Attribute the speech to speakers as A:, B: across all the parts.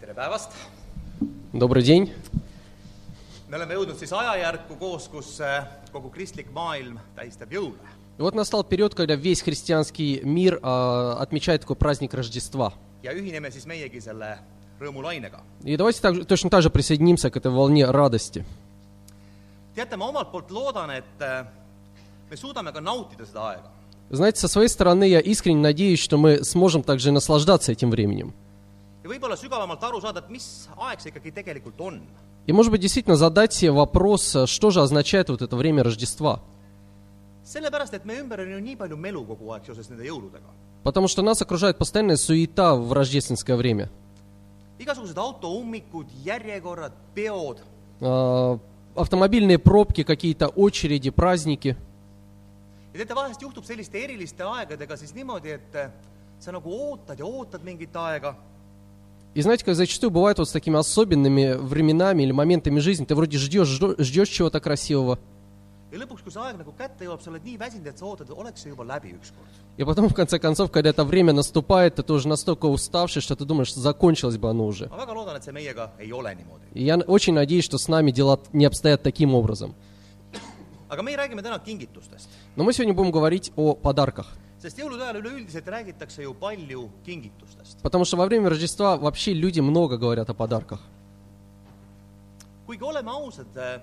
A: tere päevast!
B: Добрый день.
A: me oleme jõudnud siis ajajärku koos , kus äh, kogu kristlik maailm tähistab jõule .
B: И вот настал период, когда весь христианский мир а, отмечает такой праздник Рождества.
A: ja ühineme siis meiegi selle rõõmulainega .
B: И давайте так же- точно так же присоединимся к этой волне радости.
A: teate , ma omalt poolt loodan , et äh, me suudame ka nautida seda aega .
B: Знаете, со своей стороны я искренне надеюсь, что мы сможем также наслаждаться этим временем.
A: ja võib-olla sügavamalt aru saada , et mis aeg see ikkagi tegelikult on .
B: И, может быть, действительно задать себе вопрос, а что же означает вот это время Рождества?
A: sellepärast , et meie ümber on ju nii palju melu kogu aeg seoses nende jõuludega .
B: Потому что нас окружает постоянная суета в рождественское время.
A: igasugused autoummikud , järjekorrad , peod ,
B: А, автомобильные пробки, какие-то очереди, праздники.
A: ja teate , vahest juhtub selliste eriliste aegadega siis niimoodi , et äh, sa nagu ootad ja ootad mingit aega
B: И знаете, как зачастую бывает вот с такими особенными временами или моментами жизни, ты вроде ждешь, ждё- ждешь чего-то красивого,
A: ja lõpuks , kui see aeg nagu kätte jõuab , sa oled nii väsinud , et sa ootad , oleks see juba läbi ükskord .
B: и потом, в конце концов, когда это время наступает, ты тоже настолько уставший, что ты думаешь, закончилось бы оно уже.
A: ma väga loodan , et see meiega ei ole niimoodi .
B: И я н- очень надеюсь, что с нами дела т- не обстоят таким образом.
A: aga meie räägime täna kingitustest ,
B: Но мы сегодня будем говорить о подарках.
A: sest jõulude ajal üleüldiselt räägitakse ju palju kingitustest .
B: Потому что во время Рождества вообще люди много говорят о подарках.
A: kuigi oleme ausad ,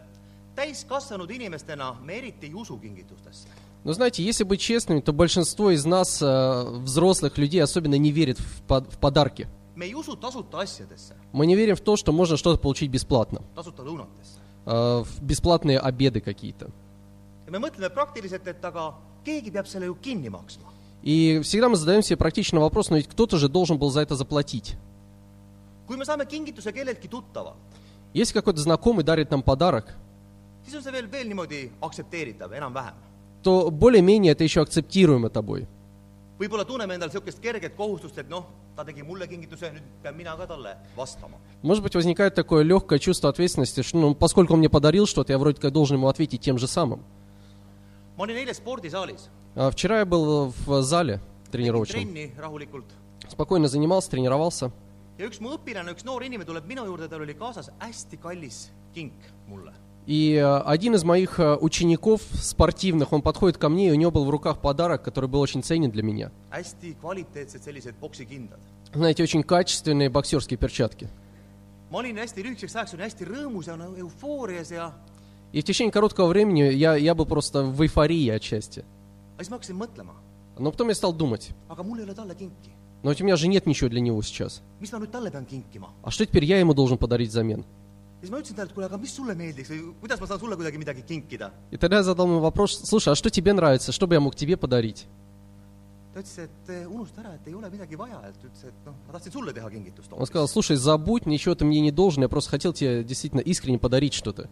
A: täiskasvanud inimestena me eriti ei usu kingitustesse .
B: Но знаете, если быть честными, то большинство из нас, э, взрослых людей, особенно не верит в под- в подарки.
A: me ei usu tasuta asjadesse ,
B: Мы не верим в то, что можно что-то получить бесплатно.
A: tasuta lõunatesse .
B: э, в бесплатные обеды какие-то.
A: ja me mõtleme praktiliselt , et aga keegi peab selle ju kinni maksma .
B: И всегда мы задаем себе практичный вопрос, но ведь кто-то же должен был за это заплатить.
A: kui me saame kingituse kelleltki tuttavalt ,
B: Если какой-то знакомый дарит нам подарок,
A: siis on see veel , veel niimoodi aktsepteeritav , enam-vähem
B: то более-менее это еще акцептируемо тобой.
A: võib-olla tunneme endal niisugust kerget kohustust , et noh , ta tegi mulle kingituse , nüüd pean mina ka talle vastama .
B: Может быть, возникает такое легкое чувство ответственности, что ну, поскольку он мне подарил что-то, я вроде как должен ему ответить тем же самым.
A: ma olin eile spordisaalis ,
B: А вчера я был в зале тренировочном,
A: trenni rahulikult
B: спокойно занимался, тренировался.
A: ja üks mu õpilane , üks noor inimene tuleb minu juurde , tal oli kaasas hästi kallis kink mulle .
B: И э, один из моих э, учеников спортивных, он подходит ко мне, и у него был в руках подарок, который был очень ценен для меня.
A: hästi kvaliteetsed sellised poksikindad .
B: знаете, очень качественные боксерские перчатки.
A: ma olin hästi lühikeseks ajaks , olin hästi rõõmus ja nagu eufoorias ja aga
B: И в течение короткого времени я, я был просто в эйфории отчасти.
A: siis ma hakkasin mõtlema ,
B: Но потом я стал думать,
A: aga mul ei ole talle kinki .
B: но ведь у меня же нет ничего для него сейчас.
A: mis ma nüüd talle pean kinkima ?
B: А что теперь я ему должен подарить взамен?
A: ja siis ma ütlesin talle , et kuule , aga mis sulle meeldiks või kuidas ma saan sulle kuidagi midagi kinkida ?
B: И тогда я задал ему вопрос, слушай, а что тебе нравится, что бы я мог тебе подарить?
A: ta ütles , et eh, unusta ära , et ei ole midagi vaja , et ütles , et noh , ma tahtsin sulle teha kingitust
B: Он
A: hoopis .
B: сказал, слушай, забудь, ничего ты мне не должен, я просто хотел тебе действительно искренне подарить что-то.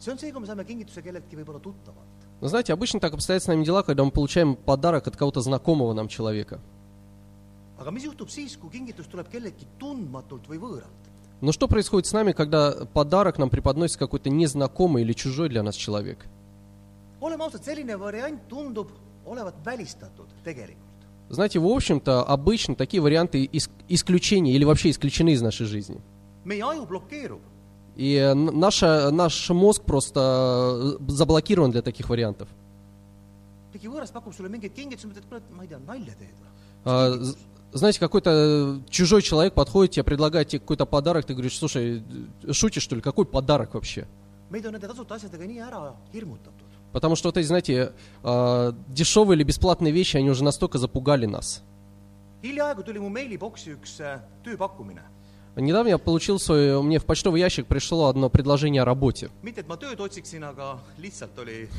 A: see on see , kui me saame kingituse kelleltki võib-olla tuttavalt .
B: Но знаете, обычно так обстоят с нами дела, когда мы получаем подарок от кого-то знакомого нам человека.
A: aga mis juhtub siis , kui kingitus tuleb kelleltki tundmatult või võõralt ?
B: Но что происходит с нами, когда подарок нам преподносит какой-то незнакомый или чужой для нас человек?
A: oleme ausad , selline variant tundub olevat välistatud tegelikult .
B: Знаете, в общем-то, обычно такие варианты иск- исключения или вообще исключены из нашей жизни.
A: meie aju blokeerub ,
B: И э, н- наша, наш мозг просто э, заблокирован для таких вариантов.
A: keegi võõras pakub sulle mingeid kingitusi , mõtled , et kuule , ma ei tea , nalja teed või ?
B: А, з- знаете, какой-то э, чужой человек подходит, тебе предлагает тебе какой-то подарок, ты говоришь, слушай, э, шутишь что ли, какой подарок вообще?
A: meid on nende tasuta asjadega nii ära hirmutatud .
B: Потому что вот эти, знаете, э, дешевые или бесплатные вещи, они уже настолько запугали нас.
A: hiljaaegu tuli mu mailiboksi üks eh, tööpakkumine .
B: Недавно я получил свой, мне в почтовый ящик пришло одно предложение о работе.
A: mitte , et ma tööd otsiksin , aga lihtsalt oli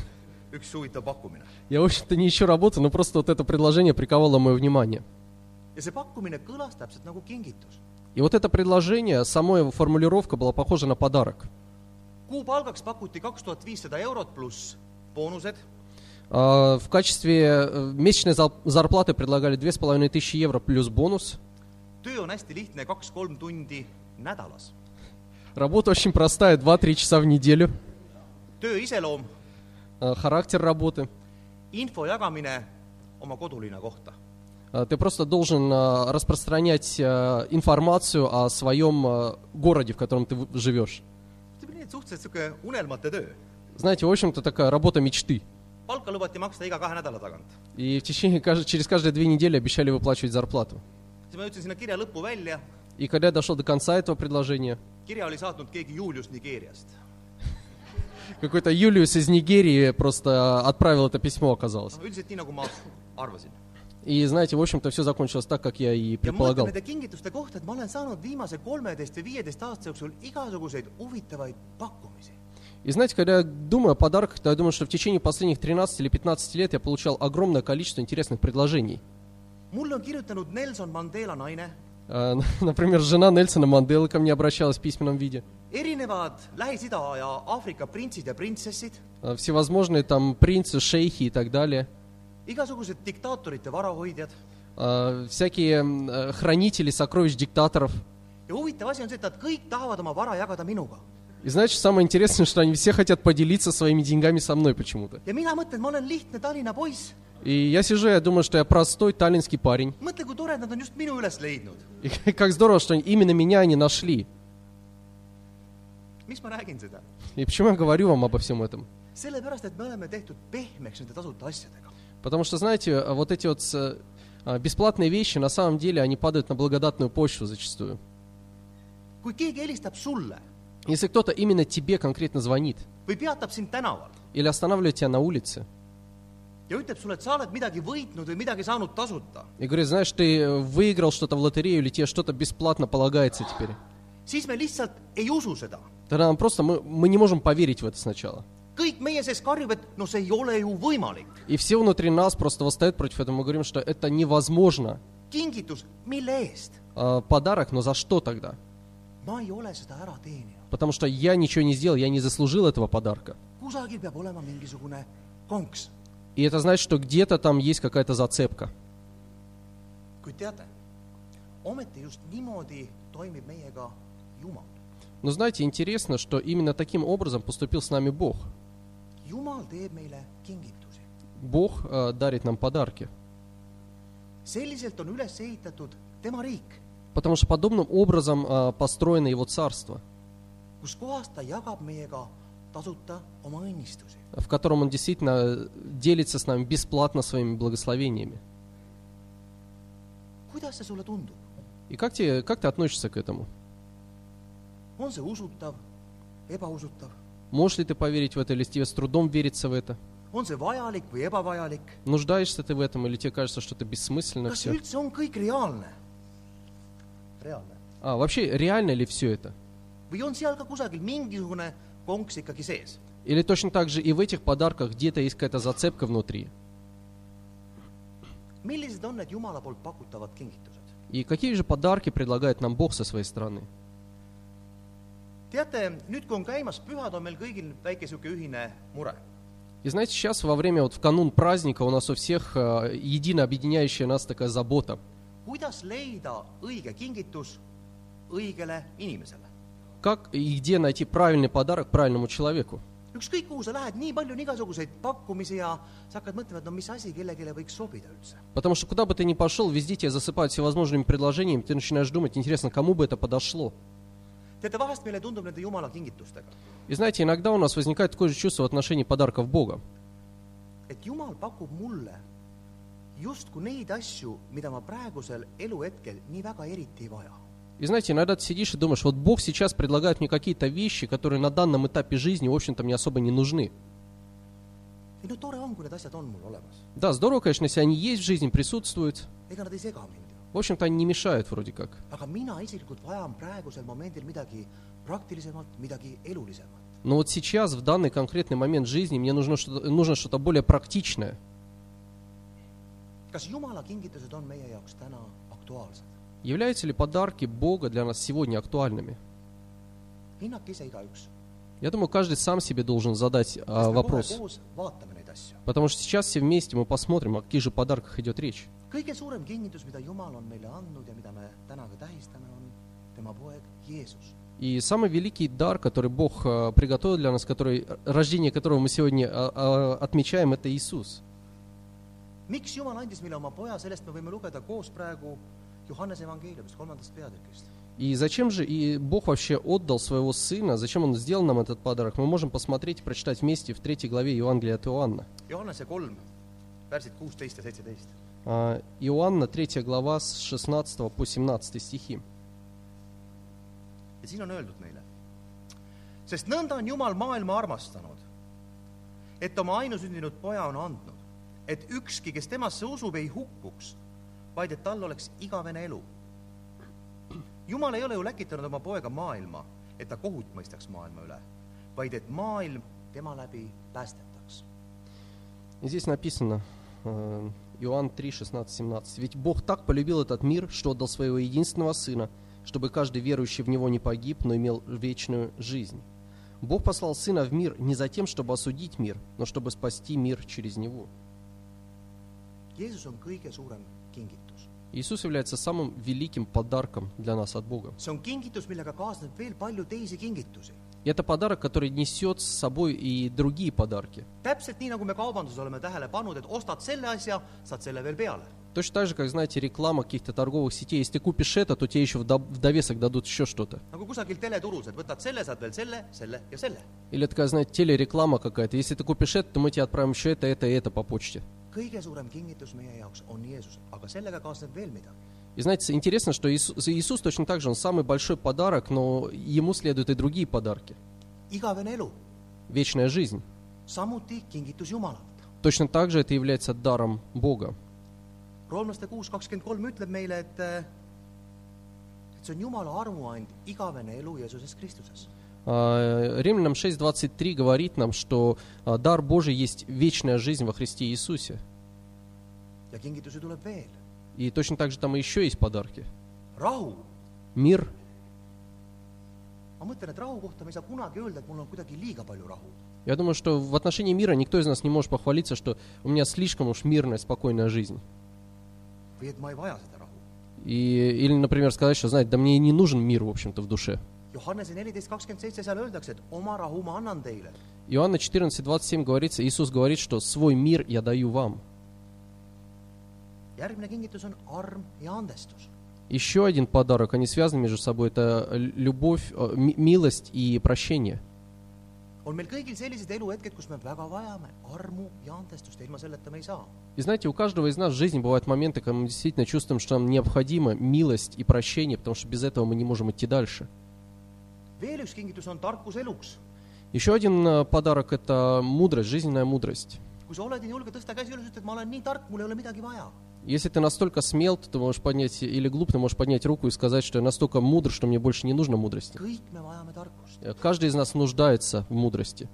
A: üks huvitav pakkumine
B: Я, в общем-то, не ищу работу, но просто вот это предложение приковало мое внимание.
A: ja see pakkumine kõlas täpselt nagu kingitus .
B: И вот это предложение, сама его формулировка была похожа на подарок.
A: kuupalgaks pakuti kaks tuhat viissada eurot pluss boonused
B: А, В качестве э, месячной зал- зарплаты предлагали 2500 евро плюс бонус.
A: töö on hästi lihtne , kaks-kolm tundi nädalas .
B: Работа очень простая, 2-3 часа в неделю.
A: töö iseloom ,
B: А, Характер работы,
A: info jagamine oma kodulinna kohta .
B: а, Э, Ты просто должен э, распространять э, информацию о своем э, городе, в котором ты в- живешь.
A: see oli nii, et suhteliselt niisugune unelmate töö .
B: Знаете, в общем-то, такая работа мечты.
A: palka lubati maksta iga kahe nädala tagant .
B: И в течение, кажд- через каждые две недели обещали выплачивать зарплату.
A: siis ma jõudsin sinna kirja lõppu välja ,
B: И когда я дошел до конца этого предложения,
A: kirja oli saatnud keegi Julius Nigeeriast .
B: какой-то Юлиус из Нигерии просто а, отправил это письмо, оказалось.
A: noh , üldiselt nii , nagu ma arvasin .
B: И знаете, в общем-то, все закончилось так, как я
A: ja
B: и
A: ma mõtlen
B: предполагал.
A: nende kingituste kohta , et ma olen saanud viimase kolmeteist või viieteist aasta jooksul igasuguseid huvitavaid pakkumisi .
B: И знаете, когда я думаю о подарках, то я думаю, что в течение последних 13 или 15 лет я получал огромное количество интересных предложений.
A: mulle on kirjutanud Nelson Mandela naine ,
B: Э, Например, жена Нельсона Манделы ко мне обращалась в письменном виде.
A: erinevad Lähis-Ida ja Aafrika printsid ja printsessid ,
B: Э, Всевозможные там принцы, шейхи и так далее.
A: igasugused diktaatorite varahoidjad
B: Э, Всякие м, э, хранители сокровищ диктаторов.
A: ja huvitav asi on see , et nad kõik tahavad oma vara jagada minuga .
B: И знаете, самое интересное, что они все хотят поделиться своими деньгами со мной почему-то.
A: ja mina mõtlen , ma olen lihtne Tallinna poiss ,
B: И я сижу, я думаю, что я простой таллинский парень.
A: mõtle , kui tore , et nad on just minu üles leidnud .
B: И как здорово, что именно меня они нашли.
A: miks ma räägin seda ?
B: И почему я говорю вам обо всем этом?
A: sellepärast , et me oleme tehtud pehmeks nende tasuta asjadega .
B: Потому что, знаете, а вот эти вот с- а, бесплатные вещи, на самом деле, они падают на благодатную почву зачастую.
A: kui keegi helistab sulle
B: Если кто-то именно тебе конкретно звонит
A: või peatab sind tänaval
B: или останавливает тебя на улице
A: ja ütleb sulle , et sa oled midagi võitnud või midagi saanud tasuta ,
B: и говорит, знаешь, ты э, выиграл что-то в лотерею или тебе что-то бесплатно полагается теперь,
A: siis me lihtsalt ei usu seda .
B: тогда нам просто, мы, мы не можем поверить в это сначала.
A: kõik meie sees karjub , et no see ei ole ju võimalik .
B: И все внутри нас просто восстают против этого. Мы говорим, что это невозможно.
A: kingitus , mille eest ?
B: А, Подарок, но за что тогда?
A: ma ei ole seda ära teeninud .
B: Потому что я ничего не сделал, я не заслужил этого подарка.
A: kusagil peab olema mingisugune konks ,
B: И это значит, что где-то там есть какая-то зацепка.
A: kuid teate , ometi just niimoodi toimib meiega Jumal .
B: Но знаете, интересно, что именно таким образом поступил с нами Бог.
A: Jumal teeb meile kingitusi .
B: Бог э, дарит нам подарки.
A: selliselt on üles ehitatud tema riik ,
B: Потому что подобным образом э, построено Его Царство,
A: kus kohas ta jagab meiega tasuta oma õnnistusi .
B: в котором Он действительно э, делится с нами бесплатно своими благословениями.
A: kuidas see sulle tundub ?
B: И как, тебе, как ты относишься к этому?
A: on see usutav , ebausutav ,
B: Можешь ли ты поверить в это, или тебе с трудом верится в это?
A: on see vajalik või ebavajalik ,
B: Нуждаешься ты в этом, или тебе кажется, что это бессмысленно
A: kas Noh, see
B: все?
A: üldse on kõik reaalne ? reaalne .
B: А вообще, реально ли все это?
A: või on seal ka kusagil mingisugune konks ikkagi sees ?
B: Или точно так же и в этих подарках где-то есть какая-то зацепка внутри?
A: millised on need Jumala poolt pakutavad kingitused ?
B: И какие же подарки предлагает нам Бог со своей стороны?
A: teate , nüüd , kui on käimas pühad , on meil kõigil väike niisugune ühine mure .
B: И знаете, сейчас во время, вот в канун праздника у нас у всех э, едино объединяющая нас такая забота.
A: kuidas leida õige kingitus õigele inimesele ?
B: Как и где найти правильный подарок правильному человеку?
A: ükskõik kuhu sa lähed , nii palju on igasuguseid pakkumisi ja sa hakkad mõtlema , et no mis asi kellelegi võiks sobida üldse .
B: Потому что куда бы ты ни пошел, везде тебя засыпают всевозможными предложениями, ты начинаешь думать, интересно, кому бы это подошло?
A: teate , vahest meile tundub nende Jumala kingitustega ,
B: И знаете, иногда у нас возникает такое же чувство в отношении подарков Бога.
A: et Jumal pakub mulle justkui neid asju , mida ma praegusel eluhetkel nii väga eriti ei vaja .
B: И знаете, иногда ты сидишь и думаешь, вот Бог сейчас предлагает мне какие-то вещи, которые на данном этапе жизни, в общем-то, мне особо не нужны.
A: ei no tore on , kui need asjad on mul olemas ,
B: Да, здорово, конечно, если они есть в жизни, присутствуют.
A: ega nad ei sega mind ju .
B: В общем-то, они не мешают вроде как.
A: aga mina isiklikult vajan praegusel momendil midagi praktilisemalt , midagi elulisemat .
B: Но вот сейчас, в данный конкретный момент жизни, мне нужно что-то, нужно что-то более практичное.
A: kas Jumala kingitused on meie jaoks täna aktuaalsed ?
B: Являются ли подарки Бога для нас сегодня актуальными?
A: hinnake ise igaüks .
B: Я думаю, каждый сам себе должен задать а, вопрос.
A: koos vaatame neid asju .
B: Потому что сейчас все вместе мы посмотрим, о каких же подарках идет речь.
A: kõige suurem kingitus , mida Jumal on meile andnud ja mida me täna ka tähistame , on tema poeg Jeesus .
B: И самый великий дар, который Бог э, приготовил а, для нас, который, рождение которого мы сегодня э, э, отмечаем, это Иисус.
A: miks Jumal andis meile oma poja , sellest me võime lugeda koos praegu Johannese evangeeliumist , kolmandast peatükist .
B: И зачем же и Бог вообще отдал своего сына, зачем он сделал нам этот подарок, мы можем посмотреть и прочитать вместе в третьей главе Евангелия от Иоанна.
A: Johannese kolm , värsid kuusteist ja seitseteist .
B: А, Иоанна, 3 глава, с 16 по 17 стихи.
A: ja siin on öeldud meile . sest nõnda on Jumal maailma armastanud , et oma ainusündinud poja on andnud , et ükski , kes temasse usub , ei hukkuks , vaid et tal oleks igavene elu . Jumal ei ole ju läkitanud oma poega maailma , et ta kohut mõistaks maailma üle , vaid et maailm tema läbi päästetaks .
B: И Здесь написано, э, Иоанн 3, 16, 17. «Ведь Бог так полюбил этот мир, что отдал своего единственного Сына, чтобы каждый верующий в Него не погиб, но имел вечную жизнь. Бог послал Сына в мир не за тем, чтобы осудить мир, но чтобы спасти мир через Него».
A: Jeesus on kõige suurem kingitus .
B: Иисус является самым великим подарком для нас от Бога.
A: see on kingitus , millega kaasneb veel palju teisi kingitusi .
B: И это подарок, который несет с собой и другие подарки.
A: täpselt nii , nagu me kaubanduses oleme tähele pannud , et ostad selle asja , saad selle veel peale
B: Точно так же, как, знаете, реклама каких-то торговых сетей. Если ты купишь это, то тебе еще в до- в довесок дадут еще что-то.
A: nagu kusagil teleturus , et võtad selle , saad veel selle , selle ja selle .
B: Или такая, знаете, телереклама какая-то. Если ты купишь это, то мы тебе отправим еще это, это и это по почте.
A: kõige suurem kingitus meie jaoks on Jeesus , aga sellega kaasneb veel midagi .
B: И знаете, интересно, что Иисус, Иисус точно так же, он самый большой подарок, но ему следуют и другие подарки.
A: igavene elu ,
B: Вечная жизнь.
A: samuti kingitus Jumalalt .
B: Точно так же это является даром Бога.
A: roomlaste kuus kakskümmend kolm ütleb meile , et et see on Jumala armuand , igavene elu Jeesuses Kristuses .
B: А, Римлянам 6.23 говорит нам, что а, дар Божий есть вечная жизнь во Христе Иисусе.
A: ja kingitusi tuleb veel .
B: И точно так же там еще есть подарки.
A: rahu ,
B: Мир.
A: ma mõtlen , et rahu kohta me ei saa kunagi öelda , et mul on kuidagi liiga palju rahu .
B: Я думаю, что в отношении мира никто из нас не может похвалиться, что у меня слишком уж мирная, спокойная жизнь.
A: või et ma ei vaja seda rahu .
B: И, или, например, сказать, что, знаете, да мне и не нужен мир, в общем-то, в душе.
A: Johannese neliteist kakskümmend seitse seal öeldakse , et oma rahu ma annan teile
B: Иоанна 14, 27 говорится, Иисус говорит, что «свой мир я даю вам».
A: järgmine kingitus on arm ja andestus .
B: Еще один подарок, они связаны между собой, это э, любовь, э, ми- милость и прощение.
A: on meil kõigil sellised eluhetked , kus me väga vajame armu ja andestust ja ilma selleta me ei saa .
B: И знаете, у каждого из нас в жизни бывают моменты, когда мы действительно чувствуем, что нам необходима милость и прощение, потому что без этого мы не можем идти дальше.
A: veel üks kingitus on tarkus eluks .
B: Еще один э, подарок – это мудрость, жизненная мудрость.
A: kui sa oled nii julge , tõsta käsi üles , ütle , et ma olen nii tark , mul ei ole midagi vaja .
B: Если ты настолько смел, то ты можешь поднять, или глуп, ты можешь поднять руку и сказать, что я настолько мудр, что мне больше не нужно мудрости.
A: kõik me vajame tarkust
B: Э, Каждый из нас нуждается в мудрости.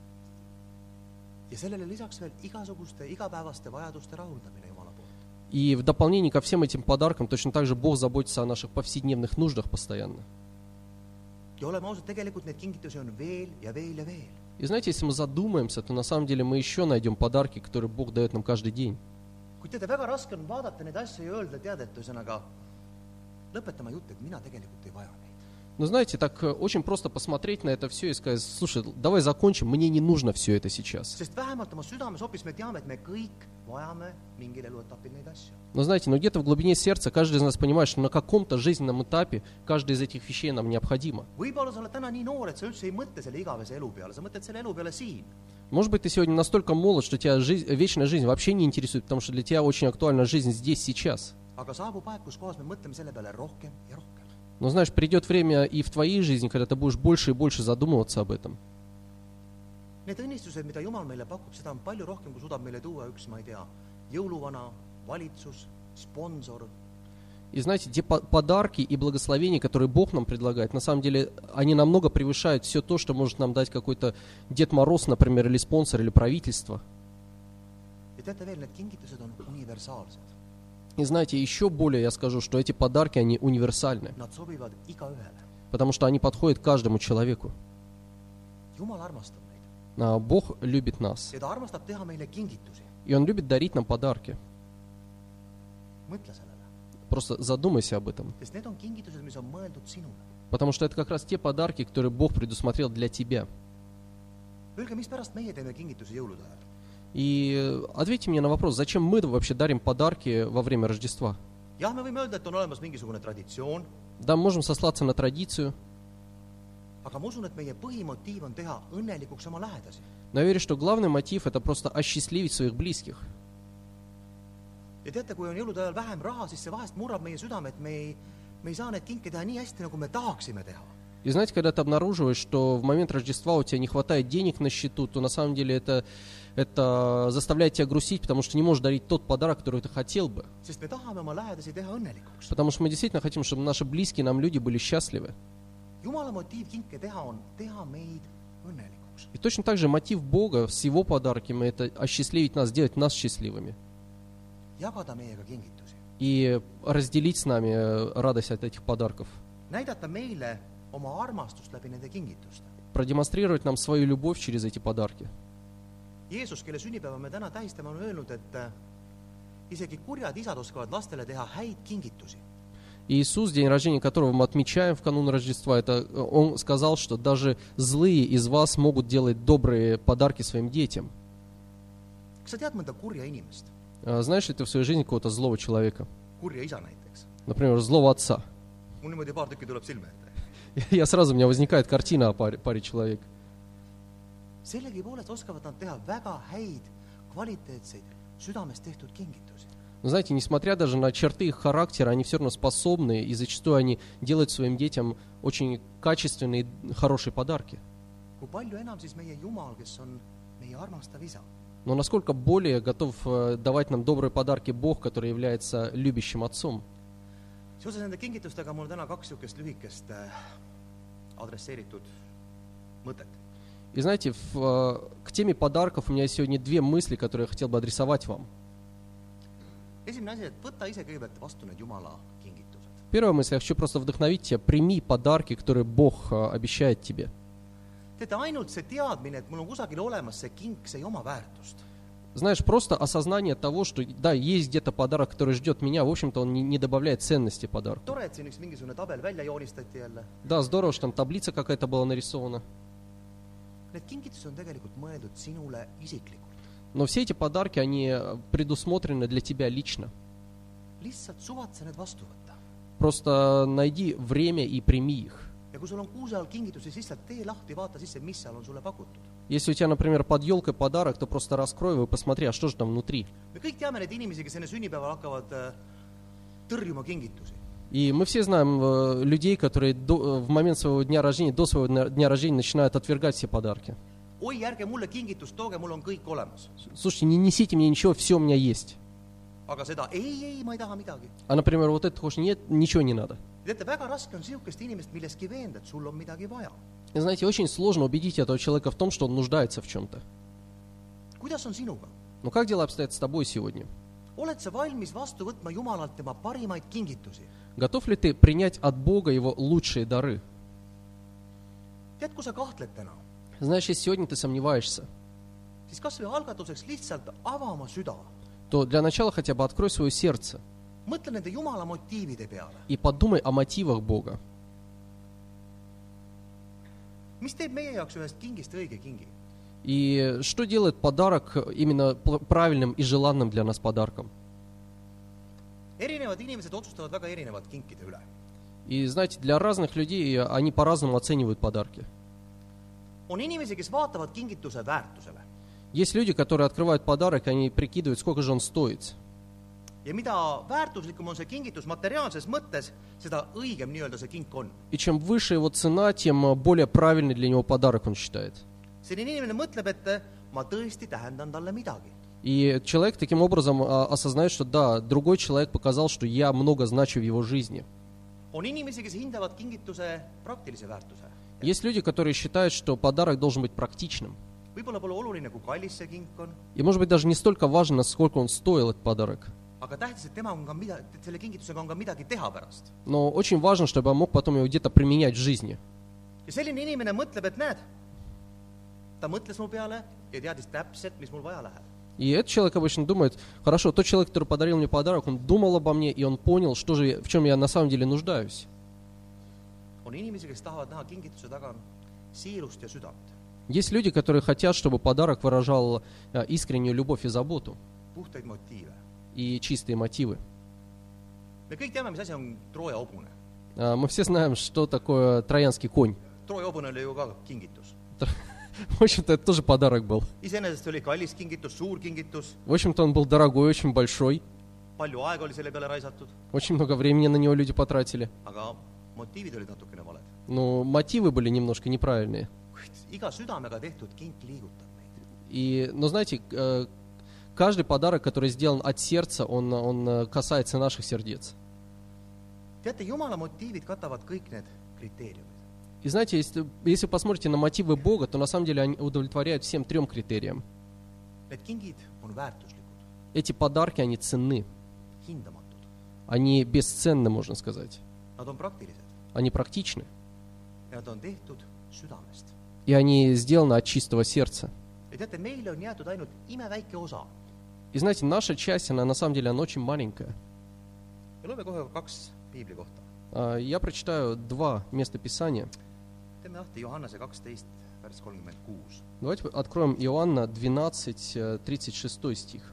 A: ja sellele lisaks veel igasuguste igapäevaste vajaduste rahuldamine Jumala poolt .
B: И в дополнение ко всем этим подаркам точно так же Бог заботится о наших повседневных нуждах постоянно.
A: ja oleme ausad , tegelikult neid kingitusi on veel ja veel ja veel .
B: И знаете, если мы задумаемся, то на самом деле мы еще найдем подарки, которые Бог дает нам каждый день.
A: kuid teate , väga raske on vaadata neid asju ja öelda , tead , et ühesõnaga lõpetama jutt , et mina tegelikult ei vaja neid .
B: Но знаете, так э, очень просто посмотреть на это все и сказать, слушай, давай закончим, мне не нужно все это сейчас.
A: sest vähemalt oma südames hoopis me teame , et me kõik vajame mingil eluetapil neid asju .
B: Но знаете, но где-то в глубине сердца каждый из нас понимает, что на каком-то жизненном этапе каждая из этих вещей нам необходима.
A: võib-olla sa oled täna nii noor , et sa üldse ei mõtle selle igavese elu peale , sa mõtled selle elu peale siin .
B: Может быть, ты сегодня настолько молод, что тебя жизнь- э, вечная жизнь вообще не интересует, потому что для тебя очень актуальна жизнь здесь, сейчас.
A: aga saabub aeg , kus kohas me mõtleme selle peale rohkem ja rohkem .
B: Но знаешь, придет время и в твоей жизни, когда ты будешь больше и больше задумываться об этом.
A: Need õnnistused , mida Jumal meile pakub , seda on palju rohkem , kui suudab meile tuua üks , ma ei tea , jõuluvana , valitsus , sponsor ,
B: И знаете, те по- подарки и благословения, которые Бог нам предлагает, на самом деле, они намного превышают все то, что может нам дать какой-то Дед Мороз, например, или спонсор, или правительство.
A: ja teate veel , need kingitused on universaalsed .
B: И знаете, еще более я скажу, что эти подарки, они универсальны,
A: Nad sobivad igaühele .
B: потому что они подходят каждому человеку.
A: Jumal armastab meid
B: А, Бог любит нас,
A: ja ta armastab teha meile kingitusi .
B: и Он любит дарить нам подарки.
A: mõtle sellele ,
B: Просто задумайся об этом,
A: sest need on kingitused , mis on mõeldud sinule .
B: потому что это как раз те подарки, которые Бог предусмотрел для тебя.
A: Öelge , mispärast meie teeme kingitusi jõulude ajal ?
B: И э, ответьте мне на вопрос, зачем мы вообще дарим подарки во время Рождества?
A: jah , me võime öelda , et on olemas mingisugune traditsioon ,
B: Да, мы можем сослаться на традицию,
A: aga ma usun , et meie põhimotiiv on teha õnnelikuks oma lähedasi .
B: но я верю, что главный мотив – это просто осчастливить своих близких.
A: ja teate , kui on jõulude ajal vähem raha , siis see vahest murrab meie südame , et me ei , me ei saa neid kinke teha nii hästi , nagu me tahaksime teha .
B: И знаете, когда ты обнаруживаешь, что в момент Рождества у тебя не хватает денег на счету, то на самом деле это, это заставляет тебя грустить, потому что не можешь дарить тот подарок, который ты хотел бы.
A: sest me tahame oma lähedasi teha õnnelikuks .
B: Потому что мы действительно хотим, чтобы наши близкие нам люди были счастливы.
A: jumala motiiv kinke teha on teha meid õnnelikuks .
B: И точно так же мотив Бога с Его подарками – это осчастливить нас, сделать нас счастливыми.
A: jagada meiega kingitusi ,
B: И разделить с нами э, радость от этих подарков.
A: näidata meile oma armastust läbi nende kingituste .
B: Продемонстрировать нам свою любовь через эти подарки.
A: Jeesus , kelle sünnipäeva me täna tähistame , on öelnud , et äh, isegi kurjad isad oskavad lastele teha häid kingitusi .
B: И Иисус, день рождения которого мы отмечаем в канун Рождества, это, э, он сказал, что даже злые из вас могут делать добрые подарки своим детям.
A: kas sa tead mõnda kurja inimest ,
B: Э, Знаешь ли ты в своей жизни какого-то злого человека?
A: kurja isa näiteks ?
B: Например, злого отца.
A: mul niimoodi paar tükki tuleb silme ette .
B: Я сразу, у меня возникает картина о паре, паре человек.
A: sellegipoolest oskavad nad teha väga häid , kvaliteetseid , südames tehtud kingitusi .
B: Но знаете, несмотря даже на черты их характера, они все равно способны, и зачастую они делают своим детям очень качественные, хорошие подарки.
A: kui palju enam siis meie Jumal , kes on meie armastav isa ,
B: Но насколько более готов э, давать нам добрые подарки Бог, который является любящим отцом?
A: seoses nende kingitustega mul täna kaks niisugust lühikest äh, adresseeritud mõtet .
B: И знаете, в, э, к теме подарков у меня есть сегодня две мысли, которые я хотел бы адресовать вам.
A: esimene asi , et võta ise kõigepealt vastu need Jumala kingitused .
B: Первая мысль, я хочу просто вдохновить тебя, прими подарки, которые Бог э, обещает тебе.
A: teate , ainult see teadmine , et mul on kusagil olemas see king , see ei oma väärtust .
B: Знаешь, просто осознание того, что да, есть где-то подарок, который ждет меня, в общем-то, он не, не добавляет ценности подарку.
A: tore , et siin üks mingisugune tabel välja joonistati jälle .
B: Да, здорово, что там таблица какая-то была нарисована.
A: Need kingitused on tegelikult mõeldud sinule isiklikult .
B: Но все эти подарки, они э, предусмотрены для тебя лично.
A: lihtsalt suvatse need vastu võtta .
B: Просто найди время и primi их.
A: ja kui sul on kuuse all kingitusi , siis lihtsalt tee lahti , vaata sisse , mis seal on sulle pakutud .
B: Если у тебя, например, под елкой подарок, то просто раскрой его и посмотри, а что же там внутри.
A: me kõik teame neid inimesi , kes enne sünnipäeval hakkavad äh, tõrjuma kingitusi .
B: И мы все знаем э, людей, которые до- э, в момент своего дня рождения, до своего дня- дня рождения начинают отвергать все подарки.
A: oi , ärge mulle kingitust tooge , mul on kõik olemas .
B: Слушайте, не несите мне ничего, все у меня есть.
A: aga seda ei , ei , ma ei taha midagi .
B: А, например, вот это хочешь, нет, ничего не надо.
A: teate , väga raske on niisugust inimest milleski veenda , et sul on midagi vaja .
B: И знаете, очень сложно убедить этого человека в том, что он нуждается в чем-то.
A: kuidas on sinuga ?
B: Но как дела обстоят с тобой сегодня?
A: oled sa valmis vastu võtma Jumalalt tema parimaid kingitusi ?
B: Готов ли ты принять от Бога его лучшие дары?
A: tead , kui sa kahtled täna ,
B: Знаешь, если сегодня ты сомневаешься,
A: siis kas või algatuseks lihtsalt ava oma süda .
B: то для начала хотя бы открой свое сердце
A: mõtle nende Jumala motiivide peale .
B: и подумай о мотивах Бога.
A: mis teeb meie jaoks ühest kingist õige kingi ?
B: И что делает подарок именно пл- правильным и желанным для нас подарком?
A: erinevad inimesed otsustavad väga erinevalt kinkide üle .
B: И знаете, для разных людей э, они по-разному оценивают подарки.
A: on inimesi , kes vaatavad kingituse väärtusele
B: Есть люди, которые открывают подарок, и они прикидывают, сколько же он стоит.
A: ja mida väärtuslikum on see kingitus materiaalses mõttes , seda õigem nii-öelda see kink on .
B: И чем выше его цена, тем э, более правильный для него подарок он считает.
A: selline inimene mõtleb , et ma tõesti tähendan talle midagi .
B: И человек таким образом а, осознает, что да, другой человек показал, что я много значу в его жизни.
A: on inimesi , kes hindavad kingituse praktilise väärtuse .
B: Есть люди, которые считают, что подарок должен быть практичным.
A: võib-olla pole oluline , kui kallis see kink on ,
B: И может быть даже не столько важно, насколько он стоил этот подарок.
A: aga tähtis , et tema on ka mida , selle kingitusega on ka midagi teha pärast .
B: Но очень важно, чтобы я мог потом его где-то применять в жизни.
A: ja selline inimene mõtleb , et näed , ta mõtles mu peale ja teadis täpselt , mis mul vaja läheb .
B: И этот человек обычно думает, хорошо, тот человек, который подарил мне подарок, он думал обо мне, и он понял, что же, я- в чем я на самом деле нуждаюсь.
A: on inimesi , kes tahavad näha kingituse taga siirust ja südant .
B: Есть люди, которые хотят, чтобы подарок выражал э, искреннюю любовь и заботу
A: puhtaid motiive .
B: и чистые мотивы.
A: me kõik teame , mis asi on Trooja hobune .
B: Э, Мы все знаем, что такое троянский конь.
A: Trooja hobune oli ju ka kingitus .
B: Тр- В общем-то, это тоже подарок был.
A: iseenesest oli kallis kingitus , suur kingitus ,
B: В общем-то, он был дорогой, очень большой.
A: palju aega oli selle peale raisatud ,
B: Очень много времени на него люди потратили.
A: aga motiivid olid natukene valed .
B: Но мотивы были немножко неправильные.
A: iga südamega tehtud kink liigutab meid .
B: И, но знаете, э, каждый подарок, который сделан от сердца, он, он э, касается наших сердец.
A: teate , Jumala motiivid katavad kõik need kriteeriumid .
B: И знаете, если, если посмотрите на мотивы Бога, то на самом деле они удовлетворяют всем трем критериям.
A: Need kingid on väärtuslikud ,
B: Эти подарки, они ценны,
A: hindamatud ,
B: они бесценны, можно сказать.
A: nad on praktilised
B: Они практичны,
A: ja nad on tehtud südamest .
B: и они сделаны от чистого сердца.
A: ja teate , meile on jäetud ainult imeväike osa
B: И знаете, наша часть, она на самом деле, она очень маленькая.
A: ja loeme kohe kaks piibli kohta .
B: А, Я прочитаю два места Писания.
A: teeme lahti Johannese kaksteist , värss kolmkümmend kuus .
B: Давайте откроем Иоанна 12, э, 36 стих,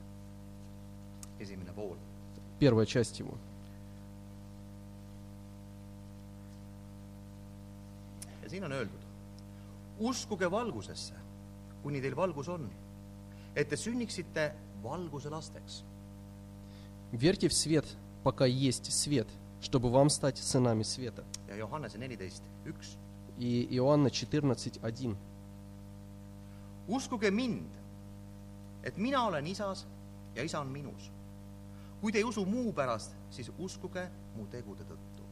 A: esimene pool .
B: первая часть его.
A: ja siin on öeldud . uskuge valgusesse , kuni teil valgus on , et te sünniksite valguse lasteks .
B: «Верьте в свет, пока есть свет, чтобы вам стать сынами света».
A: ja Johannese neliteist , üks .
B: И Иоанна 14, 1.
A: uskuge mind , et mina olen isas ja isa on minus . kui te ei usu muu pärast , siis uskuge mu tegude tõttu .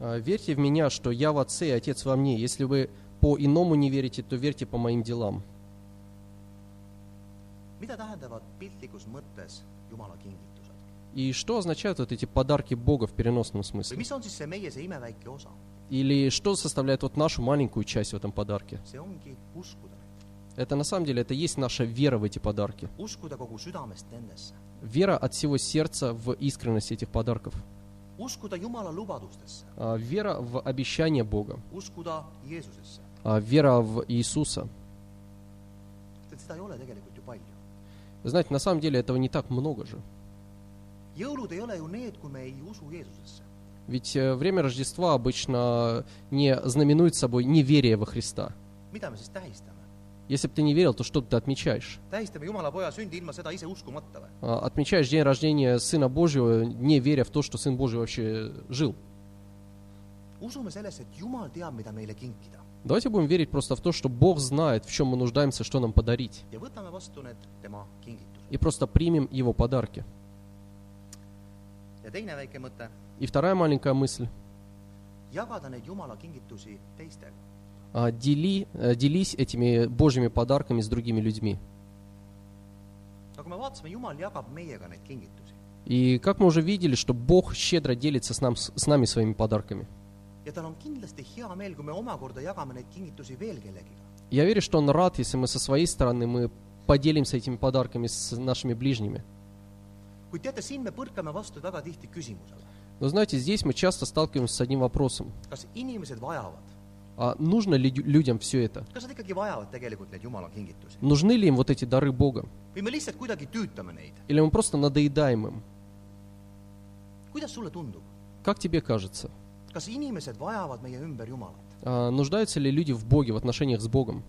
B: А, «Верьте в меня, что я в Отце, и Отец во мне. Если вы по-иному не верите, то верьте по моим делам».
A: mida tähendavad piltlikus mõttes Jumala kingitused
B: И что означают вот эти подарки Бога в переносном
A: või
B: смысле?
A: mis on siis see meie , see imeväike osa ?
B: Или что составляет вот нашу маленькую часть в этом подарке?
A: see ongi uskuda neid ,
B: Это на самом деле, это и есть наша вера в эти подарки.
A: uskuda kogu südamest nendesse ,
B: Вера от всего сердца в искренность этих подарков.
A: uskuda Jumala lubadustesse ,
B: А, Вера в обещание Бога.
A: uskuda Jeesusesse .
B: А, Вера в Иисуса.
A: seda ei ole tegelikult ju palju .
B: Вы Знаете, на самом деле этого не так много же.
A: jõulud ei ole ju need , kui me ei usu Jeesusesse .
B: Ведь э, время Рождества обычно не знаменует собой неверие во Христа.
A: mida me siis tähistame ?
B: Если бы ты не верил, то что бы ты отмечаешь?
A: tähistame Jumala poja sündi ilma seda ise uskumata või ?
B: А, Отмечаешь день рождения Сына Божьего, не веря в то, что Сын Божий вообще жил.
A: usume sellesse , et Jumal teab , mida meile kinkida
B: Давайте будем верить просто в то, что Бог знает, в чем мы нуждаемся, что нам подарить.
A: ja võtame vastu need tema kingitused .
B: И просто примем Его подарки.
A: ja teine väike mõte ,
B: И вторая маленькая мысль.
A: jagada neid Jumala kingitusi teistega .
B: А, Дели, э, делись этими Божьими подарками с другими людьми.
A: nagu me vaatasime , Jumal jagab meiega neid kingitusi
B: И как мы уже видели, что Бог щедро делится с, нам, с нами своими подарками.
A: ja tal on kindlasti hea meel , kui me omakorda jagame neid kingitusi veel kellegiga .
B: Я верю, что Он рад, если мы со своей стороны мы поделимся этими подарками с нашими ближними.
A: kuid teate , siin me põrkame vastu väga tihti küsimusele ,
B: Но знаете, здесь мы часто сталкиваемся с одним вопросом.
A: kas inimesed vajavad ,
B: А нужно ли лю- людям все это?
A: kas nad ikkagi vajavad tegelikult neid Jumala kingitusi
B: Нужны ли им вот эти дары Бога?
A: või me lihtsalt kuidagi tüütame neid ?
B: Или мы просто надоедаем им?
A: kuidas sulle tundub ,
B: Как тебе кажется?
A: kas inimesed vajavad meie ümber Jumalat ?
B: А, нуждаются ли люди в Боге, в отношениях с Богом?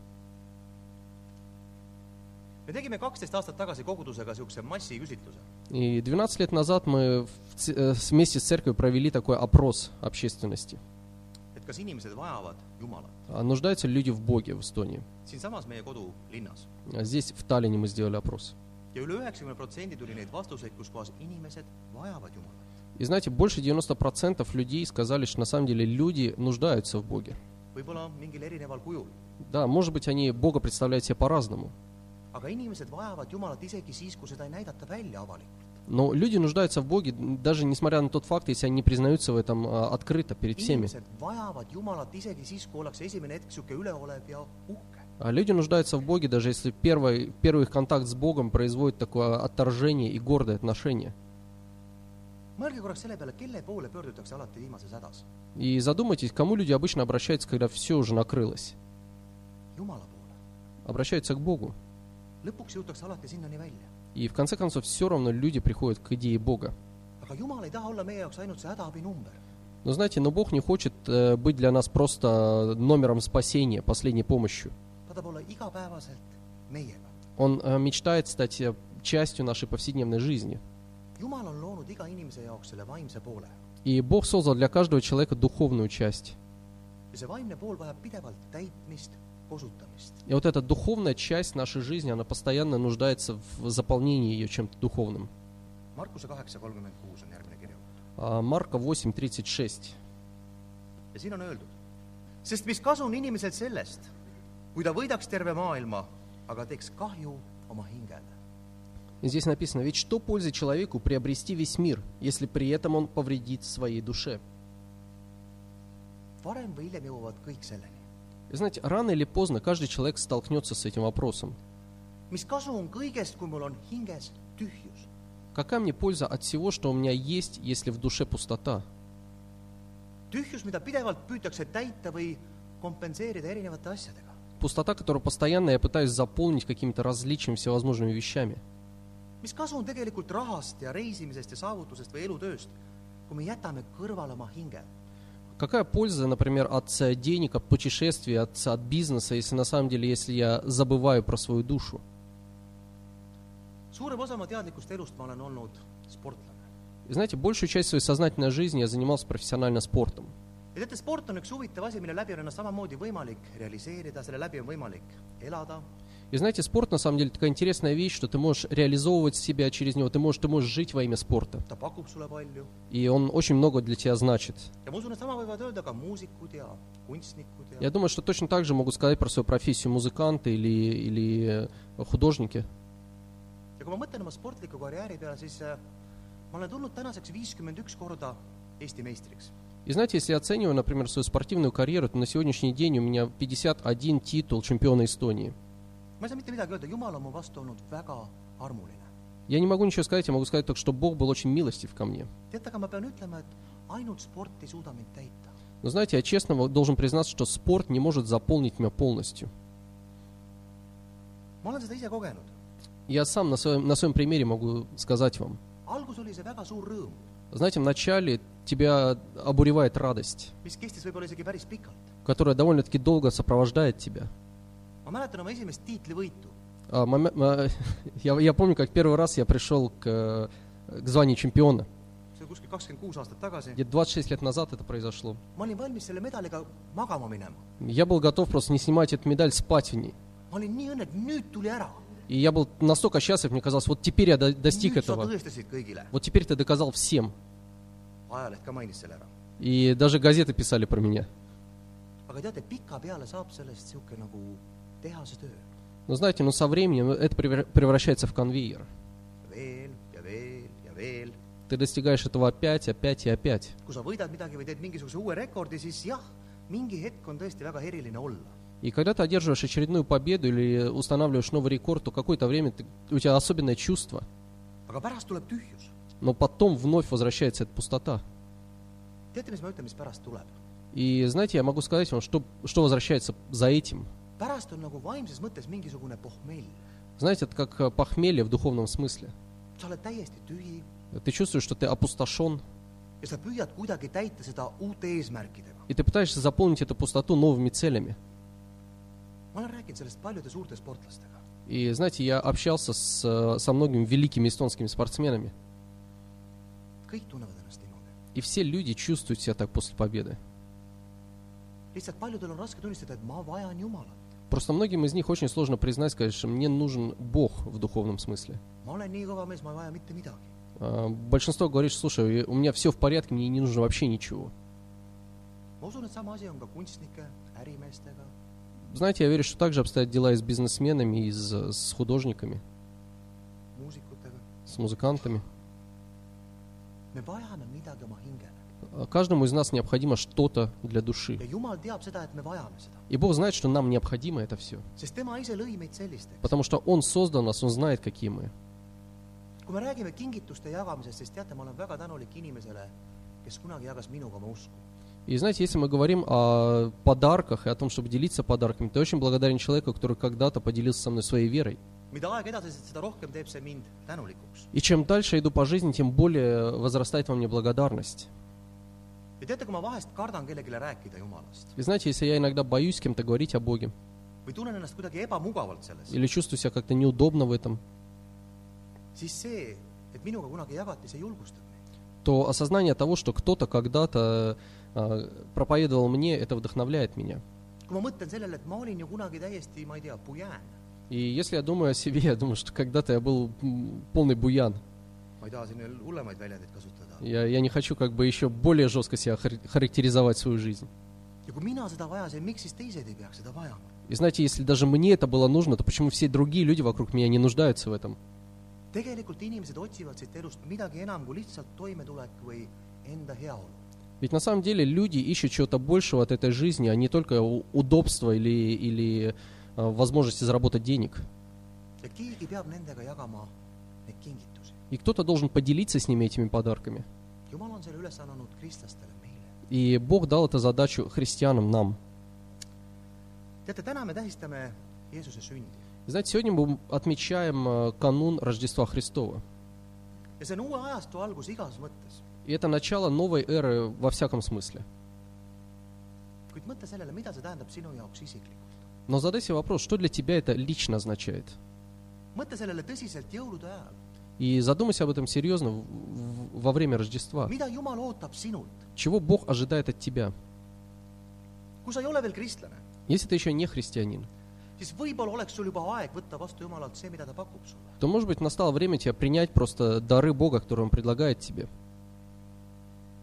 A: me tegime kaksteist aastat tagasi kogudusega niisuguse massiküsitluse
B: И 12 лет назад мы в ц- э, с- вместе с церковью провели такой опрос общественности.
A: et kas inimesed vajavad Jumalat
B: А, нуждаются ли люди в Боге в Эстонии?
A: siinsamas meie kodulinnas
B: А Здесь, в Таллине, мы сделали опрос.
A: ja üle üheksakümne protsendi tuli neid vastuseid , kus kohas inimesed vajavad Jumalat
B: И знаете, больше 90% людей сказали, что на самом деле люди нуждаются в Боге.
A: võib-olla mingil erineval kujul ,
B: Да, может быть, они Бога представляют себе по-разному,
A: aga inimesed vajavad Jumalat isegi siis , kui seda ei näidata välja avalikult .
B: но люди нуждаются в Боге, даже несмотря на тот факт, если они не признаются в этом а, открыто перед всеми.
A: inimesed vajavad Jumalat isegi siis , kui ollakse esimene hetk niisugune üleolev ja uhke .
B: А люди нуждаются в Боге, даже если первый, первый их контакт с Богом производит такое отторжение и гордое отношение.
A: mõelge korraks selle peale , kelle poole pöördutakse alati viimases hädas .
B: И задумайтесь, к кому люди обычно обращаются, когда все уже накрылось.
A: Jumala poole .
B: обращаются к Богу.
A: lõpuks jõutakse alati sinnani välja .
B: И в конце концов все равно люди приходят к идее Бога.
A: aga Jumal ei taha olla meie jaoks ainult see hädaabinumber .
B: Но Ну, знаете, но Бог не хочет э, быть для нас просто номером спасения, последней помощью.
A: ta tahab olla igapäevaselt meiega .
B: Он э, мечтает стать э, частью нашей повседневной жизни.
A: Jumal on loonud iga inimese jaoks selle vaimse poole
B: И Бог создал для каждого человека духовную часть.
A: ja see vaimne pool vajab pidevalt täitmist , osutamist .
B: И вот эта духовная часть нашей жизни, она постоянно нуждается в заполнении ее чем-то духовным.
A: Markuse kaheksa kolmkümmend kuus on järgmine kirjutatud
B: А, Марка 8.36.
A: ja siin on öeldud . sest mis kasu on inimesel sellest , kui ta võidaks terve maailma , aga teeks kahju oma hingele .
B: Здесь написано, ведь что пользы человеку приобрести весь мир, если при этом он повредит своей душе?
A: varem või hiljem jõuavad kõik selleni .
B: И знаете, рано или поздно каждый человек столкнется с этим вопросом.
A: mis kasu on kõigest , kui mul on hinges tühjus ?
B: Какая мне польза от всего, что у меня есть, если в душе пустота?
A: tühjus , mida pidevalt püütakse täita või kompenseerida erinevate asjadega .
B: Пустота, которую постоянно я пытаюсь заполнить какими-то различными всевозможными вещами.
A: mis kasu on tegelikult rahast ja reisimisest ja saavutusest või elutööst , kui me jätame kõrvale oma hinge ?
B: Какая польза, например, от э, денег, от путешествий, от, от бизнеса, если на самом деле, если я забываю про свою душу?
A: suurem osa oma teadlikust elust ma olen olnud sportlane .
B: И знаете, большую часть своей сознательной жизни я занимался профессионально спортом.
A: ja teate , sport on üks huvitav asi , mille läbi on ennast samamoodi võimalik realiseerida , selle läbi on võimalik elada ,
B: И знаете, спорт на самом деле такая интересная вещь, что ты можешь реализовывать себя через него, ты можешь, ты можешь жить во имя спорта.
A: ta pakub sulle palju
B: И он очень много для тебя значит.
A: ja ma usun , et sama võivad öelda ka muusikud ja kunstnikud ja,
B: Я думаю, что точно так же могут сказать про свою профессию музыканты или, или э, художники.
A: ja kui ma mõtlen oma sportliku karjääri peale , siis äh, ma olen tulnud tänaseks viiskümmend üks korda Eesti meistriks .
B: И знаете, если я оцениваю, например, свою спортивную карьеру, то на сегодняшний день у меня 51 титул чемпиона Эстонии.
A: ma ei saa mitte midagi öelda , Jumal on mu vastu olnud väga armuline .
B: Я не могу ничего сказать, я могу сказать только, что Бог был очень милостив ко мне.
A: teate , aga ma pean ütlema , et ainult sport ei suuda mind täita .
B: Но знаете, я честно вот должен признаться, что спорт не может заполнить меня полностью.
A: ma olen seda ise kogenud .
B: Я сам на своем, на своем примере могу сказать вам.
A: algus oli see väga suur rõõm ,
B: Знаете, вначале тебя обуревает радость,
A: mis kestis võib-olla isegi päris pikalt .
B: которая довольно-таки долго сопровождает тебя.
A: ma mäletan oma esimest tiitlivõitu .
B: А, моме- а, я, я помню, как первый раз я пришел к, э, к званию чемпиона.
A: see oli kuskil kakskümmend kuus aastat tagasi .
B: Где-то 26 лет назад это произошло.
A: ma olin valmis selle medaliga magama minema .
B: Я был готов просто не снимать эту медаль, спать в ней.
A: ma olin nii õnnelik , nüüd tuli ära .
B: И я был настолько счастлив, мне казалось, вот теперь я до- достиг
A: nüüd sa
B: этого.
A: tõestasid kõigile .
B: Вот теперь ты доказал всем.
A: ajaleht ka mainis selle ära .
B: И даже газеты писали про меня.
A: aga teate , pikapeale saab sellest niisugune nagu tehasetöö .
B: Но знаете, но со временем это превра- превращается в конвейер.
A: veel ja veel ja veel .
B: Ты достигаешь этого опять, опять и опять.
A: kui sa võidad midagi või teed mingisuguse uue rekordi , siis jah , mingi hetk on tõesti väga eriline olla .
B: И когда ты одерживаешь очередную победу или устанавливаешь новый рекорд, то какое-то время ты- у тебя особенное чувство.
A: aga pärast tuleb tühjus .
B: Но потом вновь возвращается эта пустота.
A: teate , mis ma ütlen , mis pärast tuleb ?
B: И знаете, я могу сказать вам, что, что возвращается за этим.
A: pärast on nagu vaimses mõttes mingisugune pohmell .
B: Знаете, это как э, похмелье в духовном смысле.
A: sa oled täiesti tühi
B: Ты чувствуешь, что ты опустошен,
A: ja sa püüad kuidagi täita seda uute eesmärkidega .
B: и ты пытаешься заполнить эту пустоту новыми целями.
A: ma olen rääkinud sellest paljude suurte sportlastega .
B: И знаете, я общался с, э, со многими великими эстонскими спортсменами,
A: kõik tunnevad ennast niimoodi .
B: и все люди чувствуют себя так после победы.
A: lihtsalt paljudel on raske tunnistada , et ma vajan Jumalat .
B: Просто многим из них очень сложно признать, конечно, мне нужен Бог в духовном смысле.
A: ma olen nii kõva mees , ma ei vaja mitte midagi .
B: А, Большинство говорит, что, слушай, у меня все в порядке, мне не нужно вообще ничего.
A: ma usun , et sama asi on ka kunstnike , ärimeestega .
B: Знаете, я верю, что также обстоят дела и с бизнесменами, и с, с художниками,
A: muusikutega ,
B: с музыкантами.
A: me vajame midagi oma hingele
B: А, Каждому из нас необходимо что-то для души.
A: ja Jumal teab seda , et me vajame seda ,
B: И Бог знает, что нам необходимо это все.
A: sest tema ise lõi meid sellisteks .
B: Потому что Он создал нас, Он знает, какие мы.
A: kui me räägime kingituste jagamisest , siis teate , ma olen väga tänulik inimesele , kes kunagi jagas minuga oma usku .
B: И знаете, если мы говорим о подарках и о том, чтобы делиться подарками, то я очень благодарен человеку, который когда-то поделился со мной своей верой.
A: mida aeg edasi , seda rohkem teeb see mind tänulikuks .
B: И чем дальше я иду по жизни, тем более возрастает во мне благодарность.
A: ja teate , kui ma vahest kardan kellelegi rääkida Jumalast
B: И знаете, если я иногда боюсь с кем-то говорить о Боге,
A: või tunnen ennast kuidagi ebamugavalt selles ,
B: или чувствую себя как-то неудобно в этом,
A: siis see , et minuga kunagi jagati , see julgustab mind .
B: то осознание того, что кто-то когда-то э, проповедовал мне, это вдохновляет меня.
A: kui ma mõtlen sellele , et ma olin ju kunagi täiesti , ma ei tea , pujään ,
B: И если я думаю о себе, я думаю, что когда-то я был м, полный буян.
A: ma ei taha siin veel hullemaid väljendeid kasutada ,
B: Я, я не хочу как бы еще более жестко себя хар- характеризовать свою жизнь.
A: ja kui mina seda vajasin , miks siis teised ei peaks seda vajama ?
B: И знаете, если даже мне это было нужно, то почему все другие люди вокруг меня не нуждаются в этом?
A: tegelikult inimesed otsivad siit elust midagi enam kui lihtsalt toimetulek või enda heaolu .
B: Ведь на самом деле люди ищут чего-то большего от этой жизни, а не только у- удобства или, или э, возможности заработать денег.
A: ja keegi peab nendega jagama neid kingitusi .
B: И кто-то должен поделиться с ними этими подарками.
A: jumal on selle ülesanne andnud kristlastele , meile .
B: И Бог дал эту задачу христианам, нам.
A: teate , täna me tähistame Jeesuse sündi
B: И знаете, сегодня мы отмечаем э, канун Рождества Христова.
A: ja see on uue ajastu algus igas mõttes .
B: И это начало новой эры во всяком смысле.
A: kuid mõtle sellele , mida see tähendab sinu jaoks isiklikult .
B: Но задай себе вопрос, что для тебя это лично означает?
A: mõtle sellele tõsiselt jõulude ajal ,
B: И задумайся об этом серьезно в- в- во время Рождества.
A: mida Jumal ootab sinult ,
B: Чего Бог ожидает от тебя?
A: kui sa ei ole veel kristlane
B: Если ты еще не христианин,
A: siis võib-olla oleks sul juba aeg võtta vastu Jumalalt see , mida ta pakub sulle .
B: то, может быть, настало время тебе принять просто дары Бога, которые Он предлагает тебе.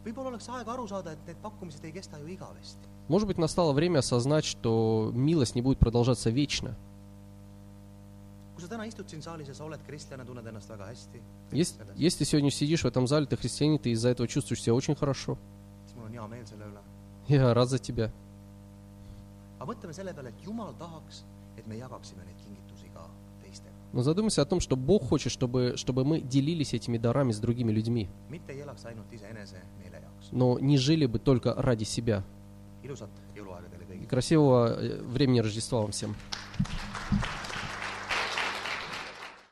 A: võib-olla oleks aeg aru saada , et need pakkumised ei kesta ju igavesti .
B: Может быть, настало время осознать, что милость не будет продолжаться вечно.
A: kui sa täna istud siin saalis ja sa oled kristlane , tunned ennast väga hästi ,
B: Если,
A: Конечно, да.
B: если ты сегодня сидишь в этом зале, ты христианин, ты из-за этого чувствуешь себя очень хорошо.
A: siis mul on hea meel selle üle .
B: Я рад за тебя.
A: aga mõtleme selle peale , et Jumal tahaks , et me jagaksime neid kingitusi ka teistega ,
B: Но задумайся о том, что Бог хочет, чтобы, чтобы мы делились этими дарами с другими людьми,
A: mitte ei elaks ainult iseenese meele jaoks .
B: но не жили бы только ради себя.
A: ilusat jõuluaega teile
B: И
A: kõigile .
B: красивого э, времени Рождества вам всем.